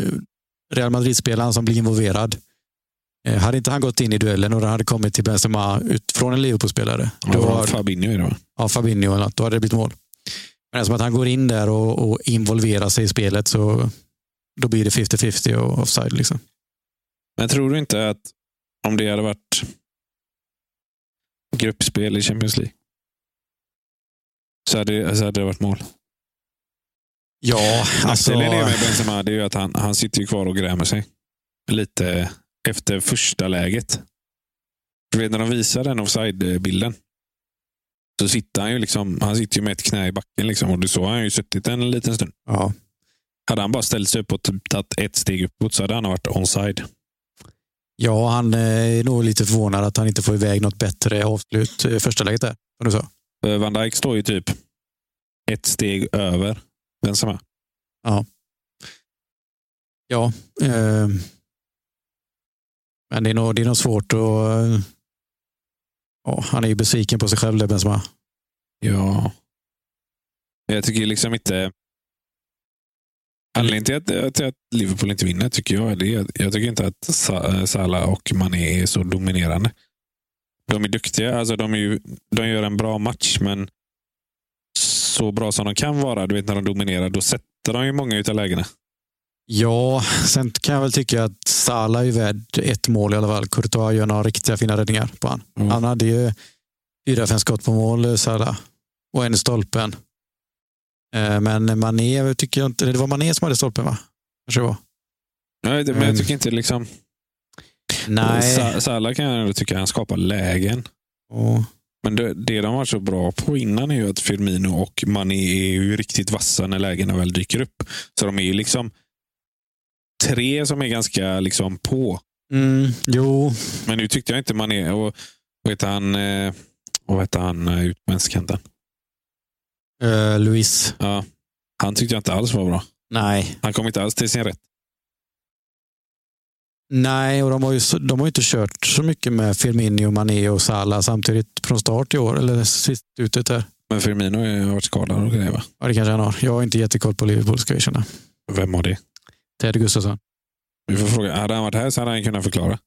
Real Madrid-spelaren som blir involverad, eh, hade inte han gått in i duellen och den hade kommit till Benzema ut från en Liverpool-spelare,
Det
då
var
har
Fabinho i det va?
ja, Fabinho eller något, då hade det blivit mål. Men eftersom att han går in där och, och involverar sig i spelet så då blir det 50-50 och offside. Liksom.
Men tror du inte att om det hade varit gruppspel i Champions League så hade, så hade det varit mål.
Ja, alltså...
Nackdelen är med Benzema det är ju att han, han sitter ju kvar och grämer sig. Lite efter första läget. Du vet när de visar den offside-bilden så sitter han ju liksom, han sitter ju med ett knä i backen liksom, och du såg han har ju suttit en liten stund.
Ja,
Hade han bara ställt sig upp och typ tagit ett steg uppåt så hade han varit onside.
ja, han eh, är nog lite förvånad att han inte får iväg något bättre avslut i första läget där. Som du sa.
Eh, Van Dijk står ju typ ett steg över Benzema.
Ja. Eh, men det är, nog, det är nog svårt att... Eh, ja, han är ju besviken på sig själv där, Benzema.
Ja. Jag tycker liksom inte... Anledningen till att, till att, Liverpool inte eh, vinner tycker jag är det. Jag tycker inte att Sa- Salah och Mané är så dominerande. De är duktiga. Alltså de, är ju, de gör en bra match, men så bra som de kan vara, du vet när de dominerar, då sätter de ju många utav lägena.
Ja, sen kan jag väl tycka att Salah är värd ett mål i alla fall. Courtois gör några riktiga fina räddningar på han.
Mm.
Han hade ju fyra, fem skott på mål, Salah. Och en i stolpen. Eh, Men Mané tycker jag inte... Det var Mané som hade stolpen, va? Kanske det var.
Nej, det- men
Mm.
jag tycker inte liksom... Sa- Salah kan jag ändå tycka, han skapar lägen.
Och,
Men det, det de var så bra på innan är ju att Firmino och Mané är ju riktigt vassa när lägena väl dyker upp. Så de är ju liksom tre som är ganska liksom på.
mm, jo,
Men nu tyckte jag inte Mané... Och, vad heter han? eh, Vad heter han? eh, Utlandskanten.
eh, Luis.
Ja, han tyckte jag inte alls var bra.
Nej.
Han kom inte alls till sin rätt.
Nej, och de har ju så- de har ju inte kört så mycket med Firmino, Mané och Salah samtidigt från start i år. Eller sist utet där.
Men Firmino har varit skadad och grejer va?
Ja, det kanske han har. Jag har inte jättekoll på Liverpool, ska jag erkänna.
Vem har det?
Ted Gustafsson.
Vi får fråga. Hade han varit här så hade han kunnat förklara.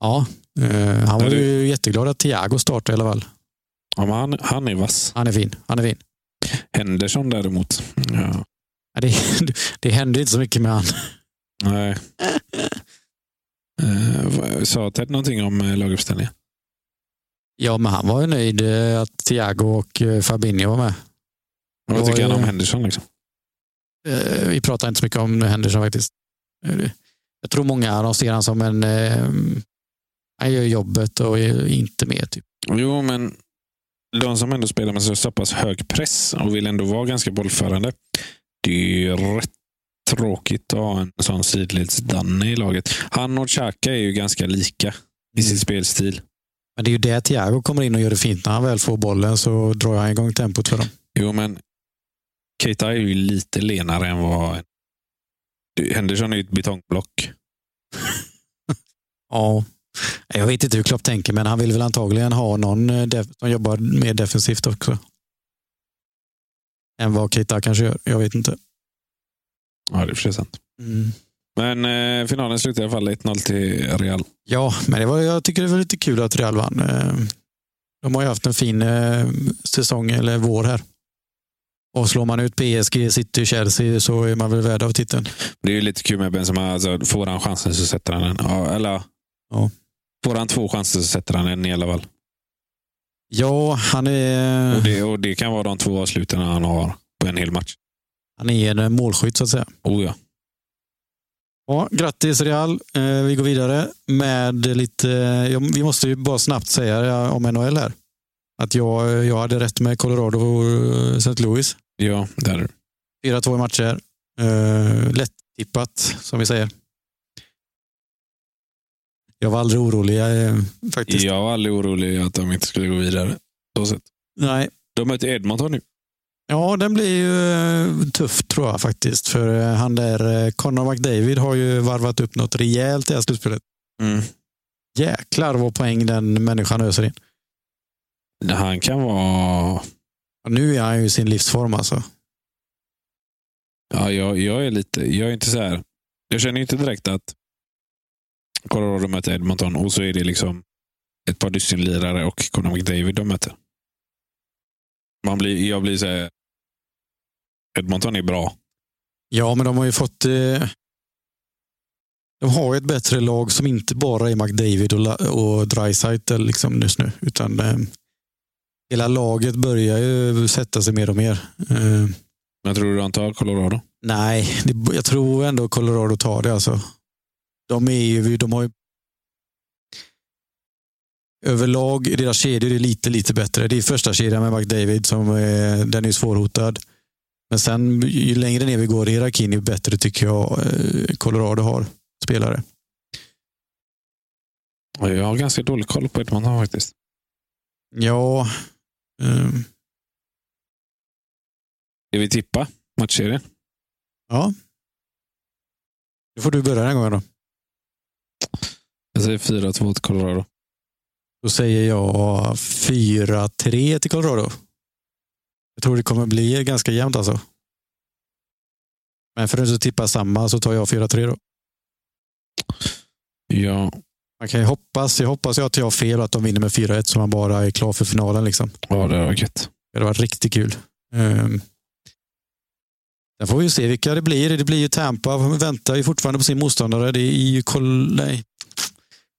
Ja, eh, han var
Där är-
ju jätteglad att Thiago startade i alla fall.
Ja, men han, han är vass.
Han är fin. Han är fin.
Henderson däremot. Ja.
Ja, det, det hände inte så mycket med han.
Nej. Eh, vad- sa Ted någonting om eh, laguppställningen?
Ja, men han var ju nöjd eh, att Thiago och eh, Fabinho var med.
Vad
Ja,
tycker han
ja.
om Henderson? Liksom?
Eh, Vi pratar inte så mycket om Henderson faktiskt. Eh, det- Jag tror många de ser honom som en... eh, Han gör jobbet och är inte med. Typ.
Jo, men de som ändå spelar med så, så pass hög press och vill ändå vara ganska bollförande. Det är ju rätt tråkigt att ha en sån sidledsdanne i laget. Han och Xhaka är ju ganska lika i sin spelstil.
Men det är ju det Thiago kommer in och gör det fint. När han väl får bollen så drar han igång tempot för dem.
Jo, men Keita är ju lite lenare än vad... Du, Henderson är ju ett betongblock.
Ja. Jag vet inte hur Klopp tänker, men han vill väl antagligen ha någon eh, def- som jobbar mer defensivt också. Än vad Keita kanske gör. Jag vet inte.
Ja, det är i och för sig sant. Mm. Men eh, finalen slutade i alla fall 1-0 till Real.
Ja, men det var, jag tycker det var lite kul att Real vann. Eh, De har ju haft en fin eh, säsong, eller vår här. Och slår man ut PSG, City, Chelsea så är man väl värd av titeln.
Det är ju lite kul med Benzema. Alltså, får han chansen så sätter han den. Ja, eller,
Ja.
Får han två chanser så sätter han en i alla fall.
Ja, han
Och,
är,
det, och det kan vara de två avsluten han har på en hel match.
han är en målskytt så att säga.
Oh, ja.
Ja, grattis Real. Eh, Vi går vidare med lite... ja, Vi måste ju bara snabbt säga det om NHL här. Att jag, jag hade rätt med Colorado och St. Louis.
ja, där.
4-2 i matcher. Eh, Lättippat, som vi säger. Jag var aldrig orolig eh, faktiskt.
Jag var aldrig orolig att de inte skulle gå vidare. Så sett.
Nej.
De möter Edmonton nu.
Ja, den blir ju eh, tuff tror jag faktiskt. För eh, han där, eh, Connor McDavid har ju varvat upp något rejält i det här slutspelet. Mm. Jäklar vad poäng den människan öser in.
Han kan vara...
Och nu är han ju i sin livsform alltså.
Ja, jag, jag är lite... Jag är inte så här... Jag känner ju inte direkt att Colorado möter Edmonton och så är det liksom ett par dussin lirare och Conor McDavid de möter. Man blir, jag blir så här... Edmonton är bra.
Ja, men de har ju fått... Eh, de har ju ett bättre lag som inte bara är McDavid och, La- och Dreisaitl liksom just nu. Utan eh, hela laget börjar ju sätta sig mer och mer. Eh,
Men tror du de tar Colorado?
nej, det, jag tror ändå Colorado tar det alltså. De är ju... De har ju Överlag i deras kedjor är lite, lite bättre. Det är första kedjan med McDavid som är, den är svårhotad. Men sen ju längre ner vi går i hierarkin ju bättre tycker jag eh, Colorado har spelare.
Jag har ganska dålig koll på Edmonton faktiskt.
Ja, ehm,
Ska vi tippa matchserien?
ja. Nu får du börja den här gången då.
Jag säger 4-2 till Colorado.
Då säger jag 4-3 till Colorado. Jag tror det kommer bli ganska jämnt alltså. Men för att inte tippa samma så tar jag 4-3 då.
Ja,
Man kan ju hoppas, jag hoppas ju att jag har fel och att de vinner med 4-1 så man bara är klar för finalen. Liksom.
Ja, det var gött.
Det hade varit riktigt kul. Um, sen får vi ju se vilka det blir. Det blir ju Tampa, de väntar ju fortfarande på sin motståndare. Det är ju Col- nej.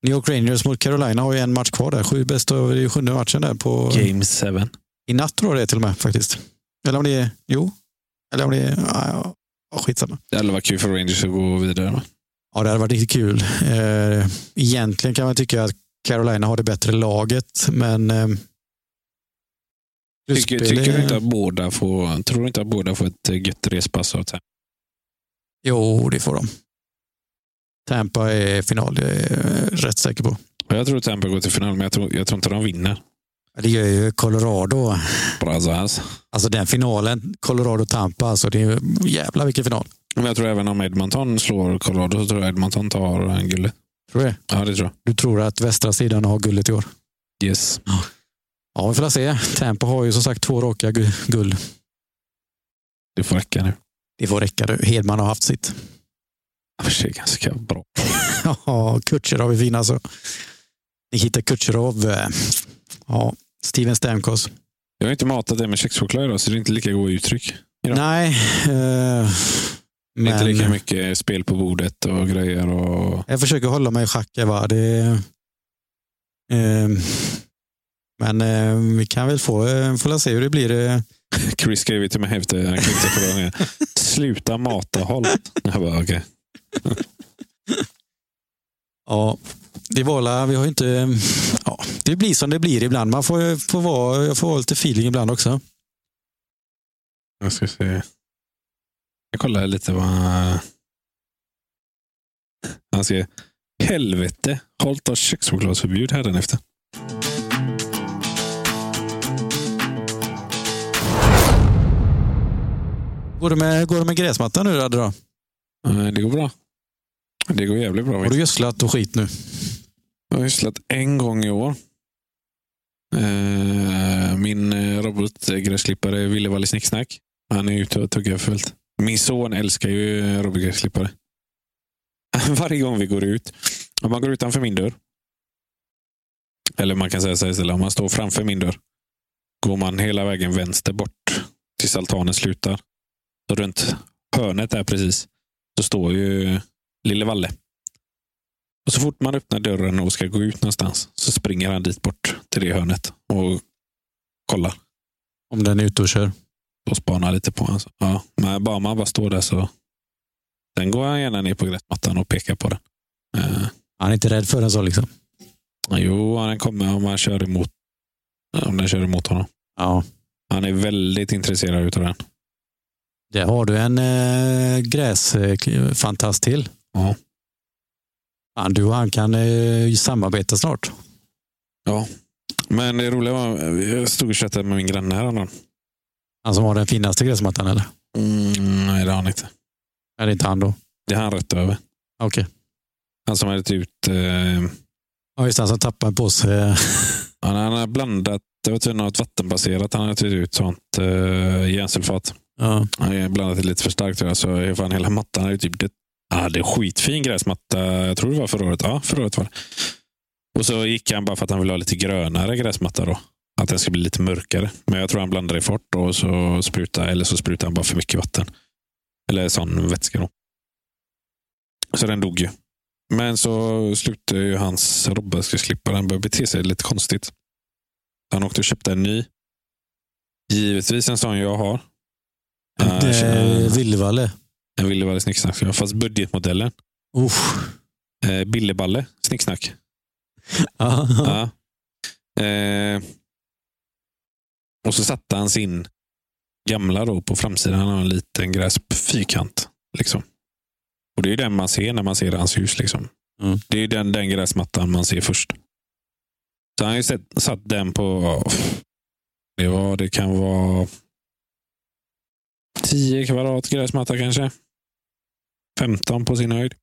New York Rangers mot Carolina har ju en match kvar där. Sju bästa över i sjunde matchen där på...
Game 7.
I natt tror jag det är till och med faktiskt. Eller om det är... Jo. Eller om det är... Ja, ja, skitsamma.
Det hade varit kul för Rangers att gå vidare. va?
Ja, det hade varit riktigt kul. Eh, Egentligen kan man tycka att Carolina har det bättre laget, men... eh,
Tycker,
slutspel
tycker du
är-
inte att båda får, tror du inte att båda får ett eh, gött respass av Tampa?
Jo, det får de. Tampa är final, det är jag rätt säker på.
Jag tror Tampa går till final, men jag tror, jag tror inte de vinner.
Ja, Det gör ju Colorado.
Bra så här.
Alltså den finalen, Colorado-Tampa, alltså det är jävla vilken final.
Men jag tror även om Edmonton slår Colorado så tror jag Edmonton tar eh, guldet.
Tror du det?
Ja, det tror jag.
Du tror att västra sidan har guldet i år?
Yes.
Ja, vi får väl se. Tampa har ju som sagt två raka gu- guld.
Det får räcka nu.
Det får räcka. du. Hedman har haft sitt.
Ja, Det är ganska bra.
Ja, Kutjerov är fin alltså. Nikita Kutjerov. eh, Ja, Steven Stamkos.
Jag har inte matat dig med kexchoklad idag, så det är inte lika goda uttryck. Ja.
Nej. Eh,
Det är inte lika
men
mycket spel på bordet och grejer. Och...
jag försöker hålla mig i schack. Va? Det, eh, men eh, vi kan väl få, eh, får väl se hur det blir. eh.
Chris skrev ju till mig efter han klippte förra gången. Sluta mata håll. Jag bara, okej.
Ja, det var alla, vi har ju inte... Ja, det blir som det blir ibland. Man får, får vara, jag får vara lite feeling ibland också.
Jag ska se. Jag kollar lite vad... Han skrev. Helvete! Holt har kökschokladsförbud hädanefter.
Går det med, går det med gräsmattan nu, Radde? då?
Eh, Det går bra. Det går jävligt bra.
Har du gödslat och skit nu?
Jag har hysslat en gång i år. Eh, Min eh, robotgräsklippare ville vara lite snicksnack. Han är ute och tuggar fullt. Min son älskar ju eh, robotgräsklippare. Varje gång vi går ut, om man går utanför min dörr, eller man kan säga så här istället, om man står framför min dörr, går man hela vägen vänster bort tills altanen slutar. Så runt hörnet där precis, så står ju eh, lille Valle. Och så fort man öppnar dörren och ska gå ut någonstans så springer han dit bort till det hörnet och kollar
Om den är ute och kör.
och spanar lite på honom. Ja, men bara man bara står där så. Sen går han gärna ner på gräsmattan och pekar på den. Eh,
Han är inte rädd för den så liksom.
jo, han kommer om man kör emot om den kör emot honom.
Ja.
Han är väldigt intresserad utav den.
Där har du en eh, gräsfantast till.
Ja.
Fan, du och han kan eh, samarbeta snart.
Men det roliga var, jag stod och chattade med min granne häromdagen.
Han som har den finaste gräsmattan eller?
Mm, nej, det har han inte.
Är det inte han då?
Det har han rätt över.
Okej.
Han som hade ut eh,
Ja, just det. Han som tappade en påse. eh,
Han han har blandat, det var tydligen något vattenbaserat han har tagit ut sånt uh, järnsulfat.
Ja.
Han har blandat det lite för starkt tror jag, så är fan hela mattan är typ det. Ja, det är skitfin gräsmatta. Jag tror det var förra året. Ja, förra året var det. Och så gick han bara för att han ville ha lite grönare gräsmatta då. Att den ska bli lite mörkare. Men jag tror han blandade det fort och så spruta eller så sprutar han bara för mycket vatten. Eller sån vätska då. Så den dog ju. Men så slutade ju hans robotskridsklippare. Han började bete sig lite konstigt. Han åkte och köpte en ny. Givetvis en sån jag har. Eh,
Det är Villvalle.
En Willeballe snicksnack. Fast budgetmodellen.
Usch.
Eh, Billeballe snicksnack.
Ja.
Ja. Eh, och så satte han sin gamla då på framsidan. Han har en liten gräs fyrkant. Liksom. Och det är ju den man ser när man ser hans hus. Liksom.
Mm.
Det är ju den, den gräsmattan man ser först. Så han har ju sett, satt den på... Det, var, det kan vara 10 kvadrat gräsmatta kanske. 15 på sin höjd.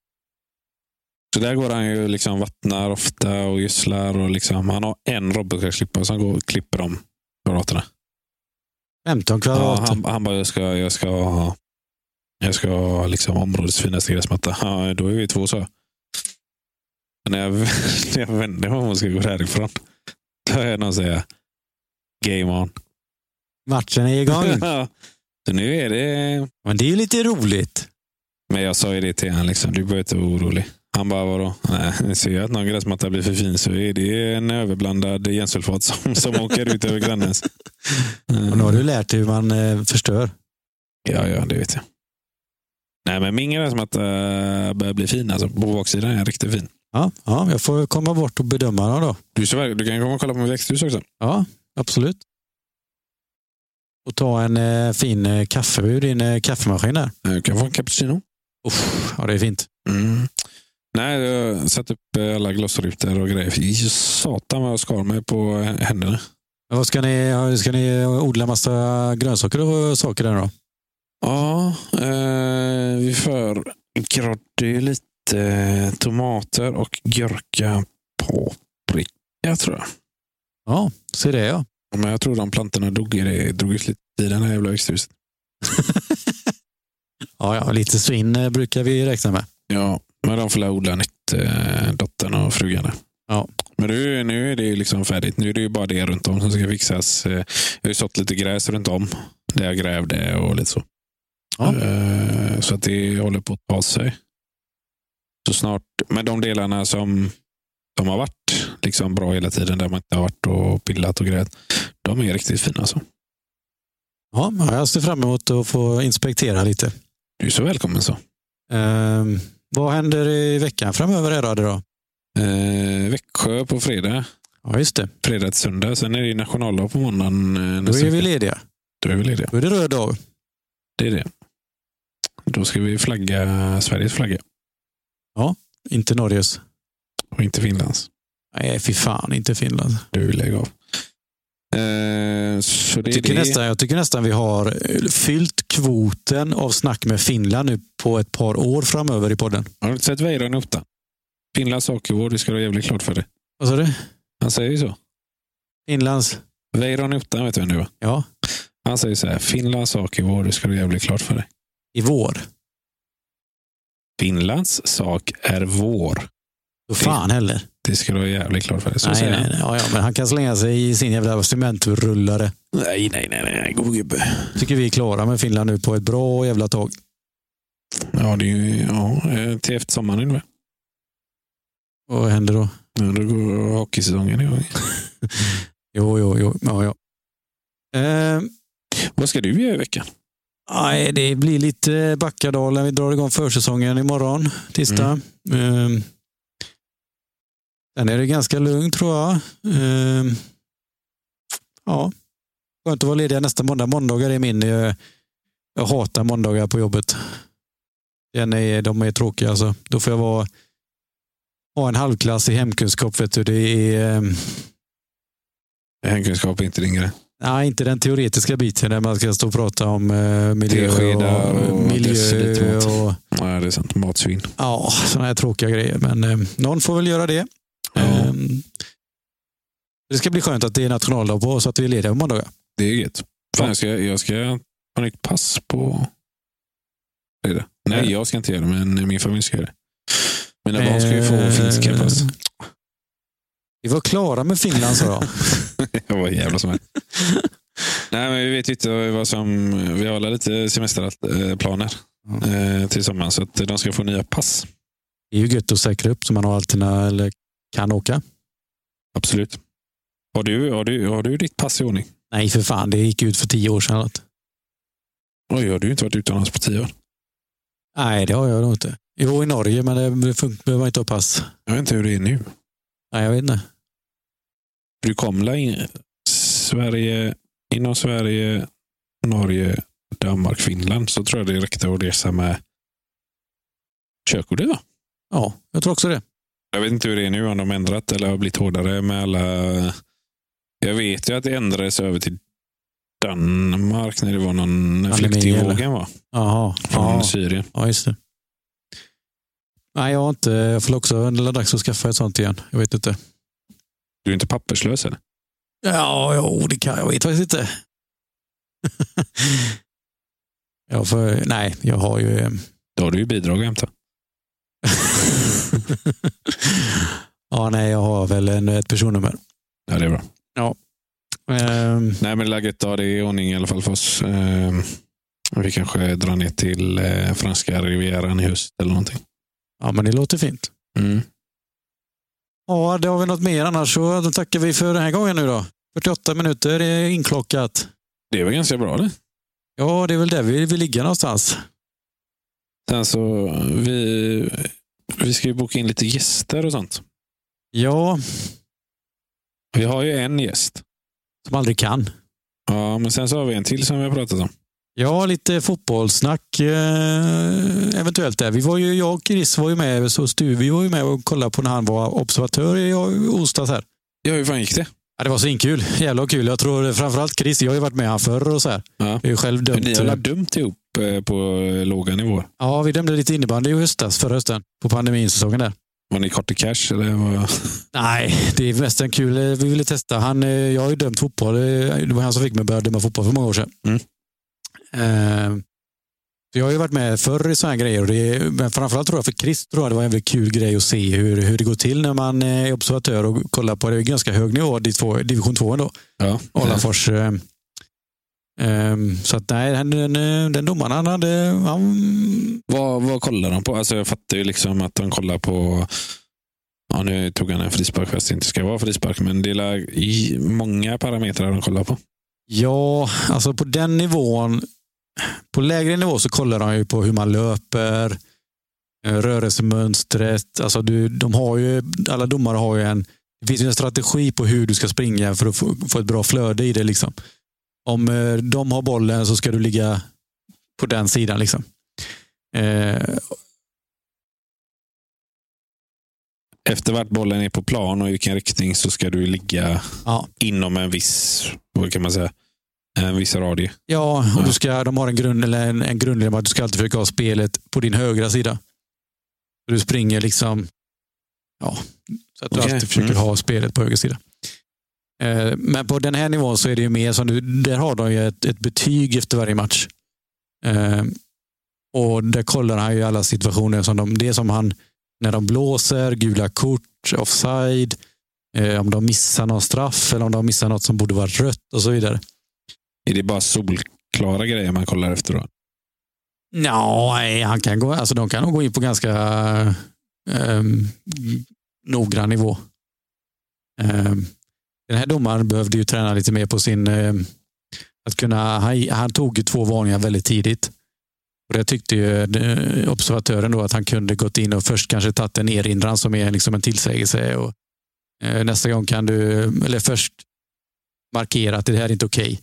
Så där går han ju liksom vattnar ofta och gödslar. Och liksom, han har en robotgräsklippare som går och klipper de kvadraterna.
15
Ja,
kvadrat.
han, han bara, jag ska, jag ska, ha- jag ska ha liksom områdets finaste gräsmatta. Ja, då är vi två så. När jag, när jag vände mig om och ska gå därifrån. Då hör jag någon säga Game on.
Matchen är igång.
så nu är det...
Men det är ju lite roligt.
Men jag sa ju det till honom. Liksom, du behöver inte vara orolig. Han bara, vadå? Nej, ser jag att någon gräsmatta blir för fin så är det en överblandad gensulfat som, som åker ut över grannens.
Och nu har du lärt dig hur man eh, förstör.
Ja, ja, det vet jag. Nej, men min gräsmatta börjar bli fin. Alltså, på baksidan är den riktigt fin.
Ja, ja, jag får komma bort och bedöma dem då.
Du, ser, verk- du kan komma och kolla på mitt växthus också.
Ja, absolut. Och ta en eh, fin eh, kaffe ur din eh, kaffemaskin där.
Du kan få en cappuccino.
Uff, ja, det är fint.
Mm. Nej, jag satt upp alla glossrutor och grejer. Fy Satan vad jag skar mig på händerna.
Men Vad ska ni, ska ni odla massa grönsaker och saker där då?
Ja, eh, vi förgrodde ju lite eh, tomater och gurka paprika tror jag.
Ja, se det ja.
Men jag tror de plantorna dog i det, drog ut lite i den här jävla växthuset.
ja, ja, lite svinn eh, brukar vi räkna med.
Ja, men de får lära odla nytt, eh, dottern och frugan. där.
Ja.
Men nu, nu är det ju liksom färdigt. Nu är det ju bara det runt om som ska fixas. Eh, Jag har ju sått lite gräs runt om där jag grävde och lite så.
Ja.
Eh, Så att det håller på att ta sig. Så snart, men de delarna som, som har varit liksom bra hela tiden, där man inte har varit och pillat och grejat, de är riktigt fina. Alltså.
Ja, ja, jag ser fram emot att få inspektera lite.
Du är så välkommen så.
Ehm, vad händer i veckan framöver här då, Adde, då?
Eh, Växjö på fredag,
Ja, just det.
fredag till söndag. Sen är det ju nationaldag på måndagen. eh,
Då
nästa
är vi
vecka.
lediga.
Då är vi lediga.
Då är det röd dag.
Det är det. Då ska vi flagga Sveriges flagga
Inte Norges.
och inte Finlands.
Nej, fy fan, inte Finland.
Du vill lägga av. Eh, så det
Jag
är det.
tycker, nästan, jag tycker nästan vi har eh, fyllt kvoten av snack med Finland nu på ett par år framöver i podden.
Har du inte sett Weiranotan? Finlands åkervård, det ska du ha jävligt klart för dig.
Vad sa du?
Han säger ju så.
Finlands?
Weiranotan vet du vem det var?
Ja,
Han säger så här. Finlands åkervård, det ska du ha jävligt klart för dig.
i vår.
Finlands sak är vår.
Då fan heller.
Det ska du ha jävligt klart för dig. Så
Nej,
säger
nej,
han.
nej. Ja, ja, men han kan slänga sig i sin jävla cementrullare.
nej, nej, nej, nej, nej, god gubbe.
Tycker vi är klara med Finland nu på ett bra jävla tag.
Ja, det är ju, ja, eh, till efter sommaren. va?
Vad händer då?
Ja, då går hockeysäsongen igång.
Jo, jo, jo. Ja, ja. Ehm,
Vad ska du göra i veckan?
Nej, det blir lite Backadalen. Vi drar igång försäsongen imorgon, tisdag. Mm. Sen är det ganska lugnt tror jag. Ehm, Ja, skönt att vara lediga nästa måndag. Måndagar är min... eh, Jag hatar måndagar på jobbet. Den är, de är tråkiga alltså. Då får jag vara, ha en halvklass i hemkunskap. Vet du. Det är, ehm,
Hemkunskap är inte din grej.
Nej, inte den teoretiska biten där man ska stå och prata om eh, miljö
Teskedar
och,
och
miljö
decilit
och
Nej, det är sant. Matsvinn.
ja, sådana här tråkiga grejer. Men eh, någon får väl göra det.
Ja,
Ehm, det ska bli skönt att det är nationaldag på så att vi är lediga på måndagar.
det är gött. Fan, jag, ska, jag ska ha nytt pass på fredag. Nej, jag ska inte göra det, men min familj ska göra det. Mina barn ska ju få
Eh,
finska pass.
Vi var klara med Finland sa jag.
Jag var jävla som helst. Nej, men vi vet ju inte vad som... Vi har alla lite semesterplaner eh, till sommaren, så att de ska få nya pass.
Det är ju gött att säkra upp så man har alterna eller kan åka.
Absolut. Har du, har du, har du ditt pass i ordning?
Nej, för fan. Det gick ut för tio år sedan.
Oj, har du inte varit utomlands på tio år?
Nej, det har jag nog inte. Jo, i Norge, men det fun- behöver man inte ha pass.
Jag vet inte hur det är nu.
Nej, jag vet inte.
Du kom la in Sverige, inom Sverige, Norge, Danmark, Finland så tror jag det räckte att resa med körkortet. va?
Ja, jag tror också det.
Jag vet inte hur det är nu, om de har ändrat eller har blivit hårdare med alla... Jag vet ju att det ändrades över till Danmark när det var någon
Pandemi,
flyktingvågen va?
Jaha.
från
ja.
Syrien.
Ja, just det. Nej, jag har inte. Jag får också, det är dags att skaffa ett sånt igen. Jag vet inte.
Du är inte papperslös eller?
Ja, jo, det kan jag. vet faktiskt inte. jag får, nej, jag har ju... eh,
Då har du ju bidrag att hämta.
ja, nej, jag har väl en, ett personnummer.
Ja, det är bra.
Ehm,
Nej, men läget ja, det är i ordning i alla fall för oss. Ehm, vi kanske drar ner till eh, franska rivieran i höst eller någonting.
ja, men det låter fint. Ja, det har vi något mer annars så då tackar vi för den här gången nu då. 48 minuter är inklockat.
Det är väl ganska bra det.
Ja, det är väl där vi vill ligga någonstans.
Sen så, vi, vi ska ju boka in lite gäster och sånt.
Ja,
Vi har ju en gäst.
som aldrig kan.
Ja, men sen så har vi en till som vi har pratat om.
Ja, lite fotbollssnack eh, eventuellt där. Vi var ju, jag och Chris var ju med, så Stu, vi var ju med och kollade på när han var observatör i onsdags här.
Ja, hur fan gick det?
Ja, det var svinkul. Jävla kul. Jag tror framförallt Chris, jag har ju varit med han förr och så här.
Ja.
Jag är ju själv
Ni har
dömt.
dömt ihop eh, på eh, låga nivåer.
Ja, vi dömde lite innebandy i höstas, förra hösten, på pandeminsäsongen där.
Var ni kort i cash? Eller vad?
Nej, det är mest en kul. eh, Vi ville testa. Han, eh, jag har ju dömt fotboll. eh, Det var han som fick mig att börja döma fotboll för många år sedan.
Mm.
Eh, så jag har ju varit med förr i sådana här grejer. Och det, är- men framförallt tror jag för Chris tror jag det var en väldigt kul grej att se hur, hur det går till när man eh, är observatör och kollar på det. Det är ganska hög nivå, div- två- division 2 ändå.
Ja.
Alafors. Eh, ehm, så att nej, den, den, den domaren han hade... Han,
Vad, vad kollar de på? Alltså jag fattar ju liksom att de kollar på... Ja, nu tog han en frispark fast det inte ska vara frispark, men det är la- i många parametrar de kollar på.
Ja, alltså på den nivån, på lägre nivå så kollar de ju på hur man löper, eh, rörelsemönstret. Alltså du, de har ju, alla domare har ju en, det finns ju en strategi på hur du ska springa för att få, få ett bra flöde i det. Liksom. Om eh, de har bollen så ska du ligga på den sidan. Liksom. Eh,
Efter vart bollen är på plan och i vilken riktning så ska du ligga
Ja.
inom en viss, vad kan man säga, en viss radie.
Ja, och
Ja.
du ska, de har en, grund, eller en, en grundlinje om att du ska alltid försöka ha spelet på din högra sida. Så Du springer liksom... Ja, så att du
Okej,
alltid försöker
mm.
ha spelet på höger sida. Eh, Men på den här nivån så är det ju mer som du, där har de ju ett, ett betyg efter varje match. Eh, Och där kollar han ju alla situationer. Som de, det är som han, när de blåser, gula kort, offside, eh, om de missar någon straff eller om de missar något som borde vara rött och så vidare.
Är det bara solklara grejer man kollar efter då?
Nja, nej, han kan gå, alltså de kan nog gå in på ganska ehm, noggrann nivå. Ehm, den här domaren behövde ju träna lite mer på sin... ehm, att kunna, han, han tog ju två varningar väldigt tidigt. Och det tyckte ju eh, observatören då att han kunde gått in och först kanske tagit en erinran som är liksom en tillsägelse. Och, eh, nästa gång kan du, eller först markera att det här är inte okej.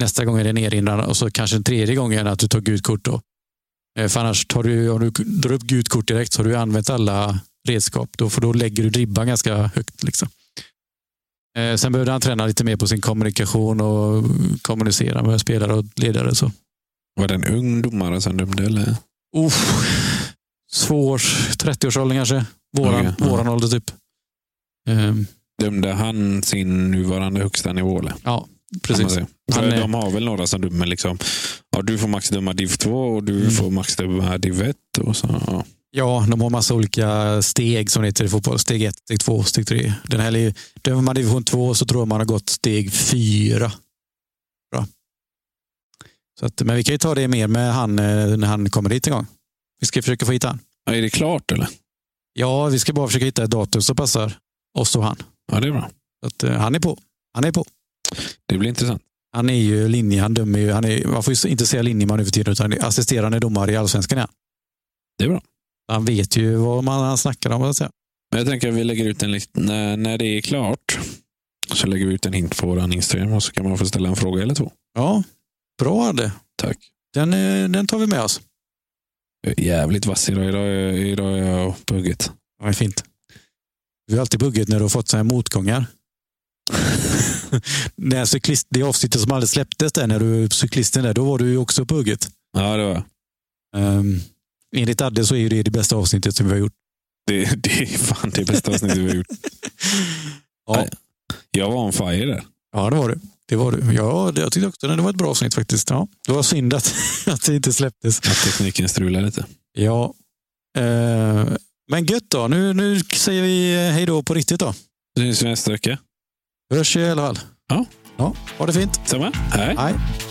Nästa gång är det en erinran och så kanske den tredje gången att du tar gult kort. Då. Eh, För annars tar du, om du drar upp gult kort direkt så har du använt alla redskap. Då, för då lägger du ribban ganska högt. Liksom. Eh, Sen behövde han träna lite mer på sin kommunikation och kommunicera med spelare och ledare. Så.
Var det en ung domare som dömde? Eller?
Uff. Svår 30-årsåldern kanske. Våran,
Okej, ja.
våran ålder typ. Ehm,
Dömde han sin nuvarande högsta nivå? Eller?
Ja,
Kan man
precis.
säga. För
Han är-
de har väl några som dömer liksom. Ja, du får max döma div 2 och du
Mm.
får max döma div 1. Och så, ja.
Ja, de har massa olika steg som det heter i fotboll. Steg ett, steg två, steg tre. Den här, li- dömer man division två så tror jag man har gått steg fyra. Bra. Så att, men vi kan ju ta det mer med han eh, när han kommer dit en gång. Vi ska försöka få hit han.
Ja, är det klart eller?
Ja, vi ska bara försöka hitta ett datum som passar oss och han.
Ja, det är bra.
Så att, eh, han är på. Han är på.
Det blir intressant.
Han är ju linje, han dömer ju. Han är, man får ju inte säga linjeman nu för tiden utan assisterande domare i allsvenskan. är han.
Det är bra.
Han vet ju vad man, han snackar om. Så att säga.
Men jag tänker att vi lägger ut en lit- när, när det är klart så lägger vi ut en hint på vår Instagram och så kan man få ställa en fråga eller två.
Ja, bra det.
Tack.
Den, eh, den tar vi med oss.
Jag är jävligt vass idag. Idag är, idag är jag på hugget.
Det är fint. Du har alltid buggit när du har fått sådana här motgångar. när cyklist, det avsnittet som aldrig släpptes där, när du cyklisten där, då var du ju också på hugget.
Ja, det var jag.
Um, enligt Adde så är ju det det bästa avsnittet som vi har gjort.
det, det är fan det bästa avsnittet vi har gjort.
Ja,
Nej. Jag var on fire där.
ja det var du. Det var du. Ja, det, jag tyckte också det var ett bra avsnitt faktiskt. Ja, det var synd att, att det inte släpptes.
Att tekniken strulade lite.
Ja. Eh, Men gött då. Nu, nu säger vi hej då på riktigt då.
Syns vi nästa vecka.
Vi hörs i alla fall.
Ja.
ja. Ha det fint.
Samma. Hej.
Hej.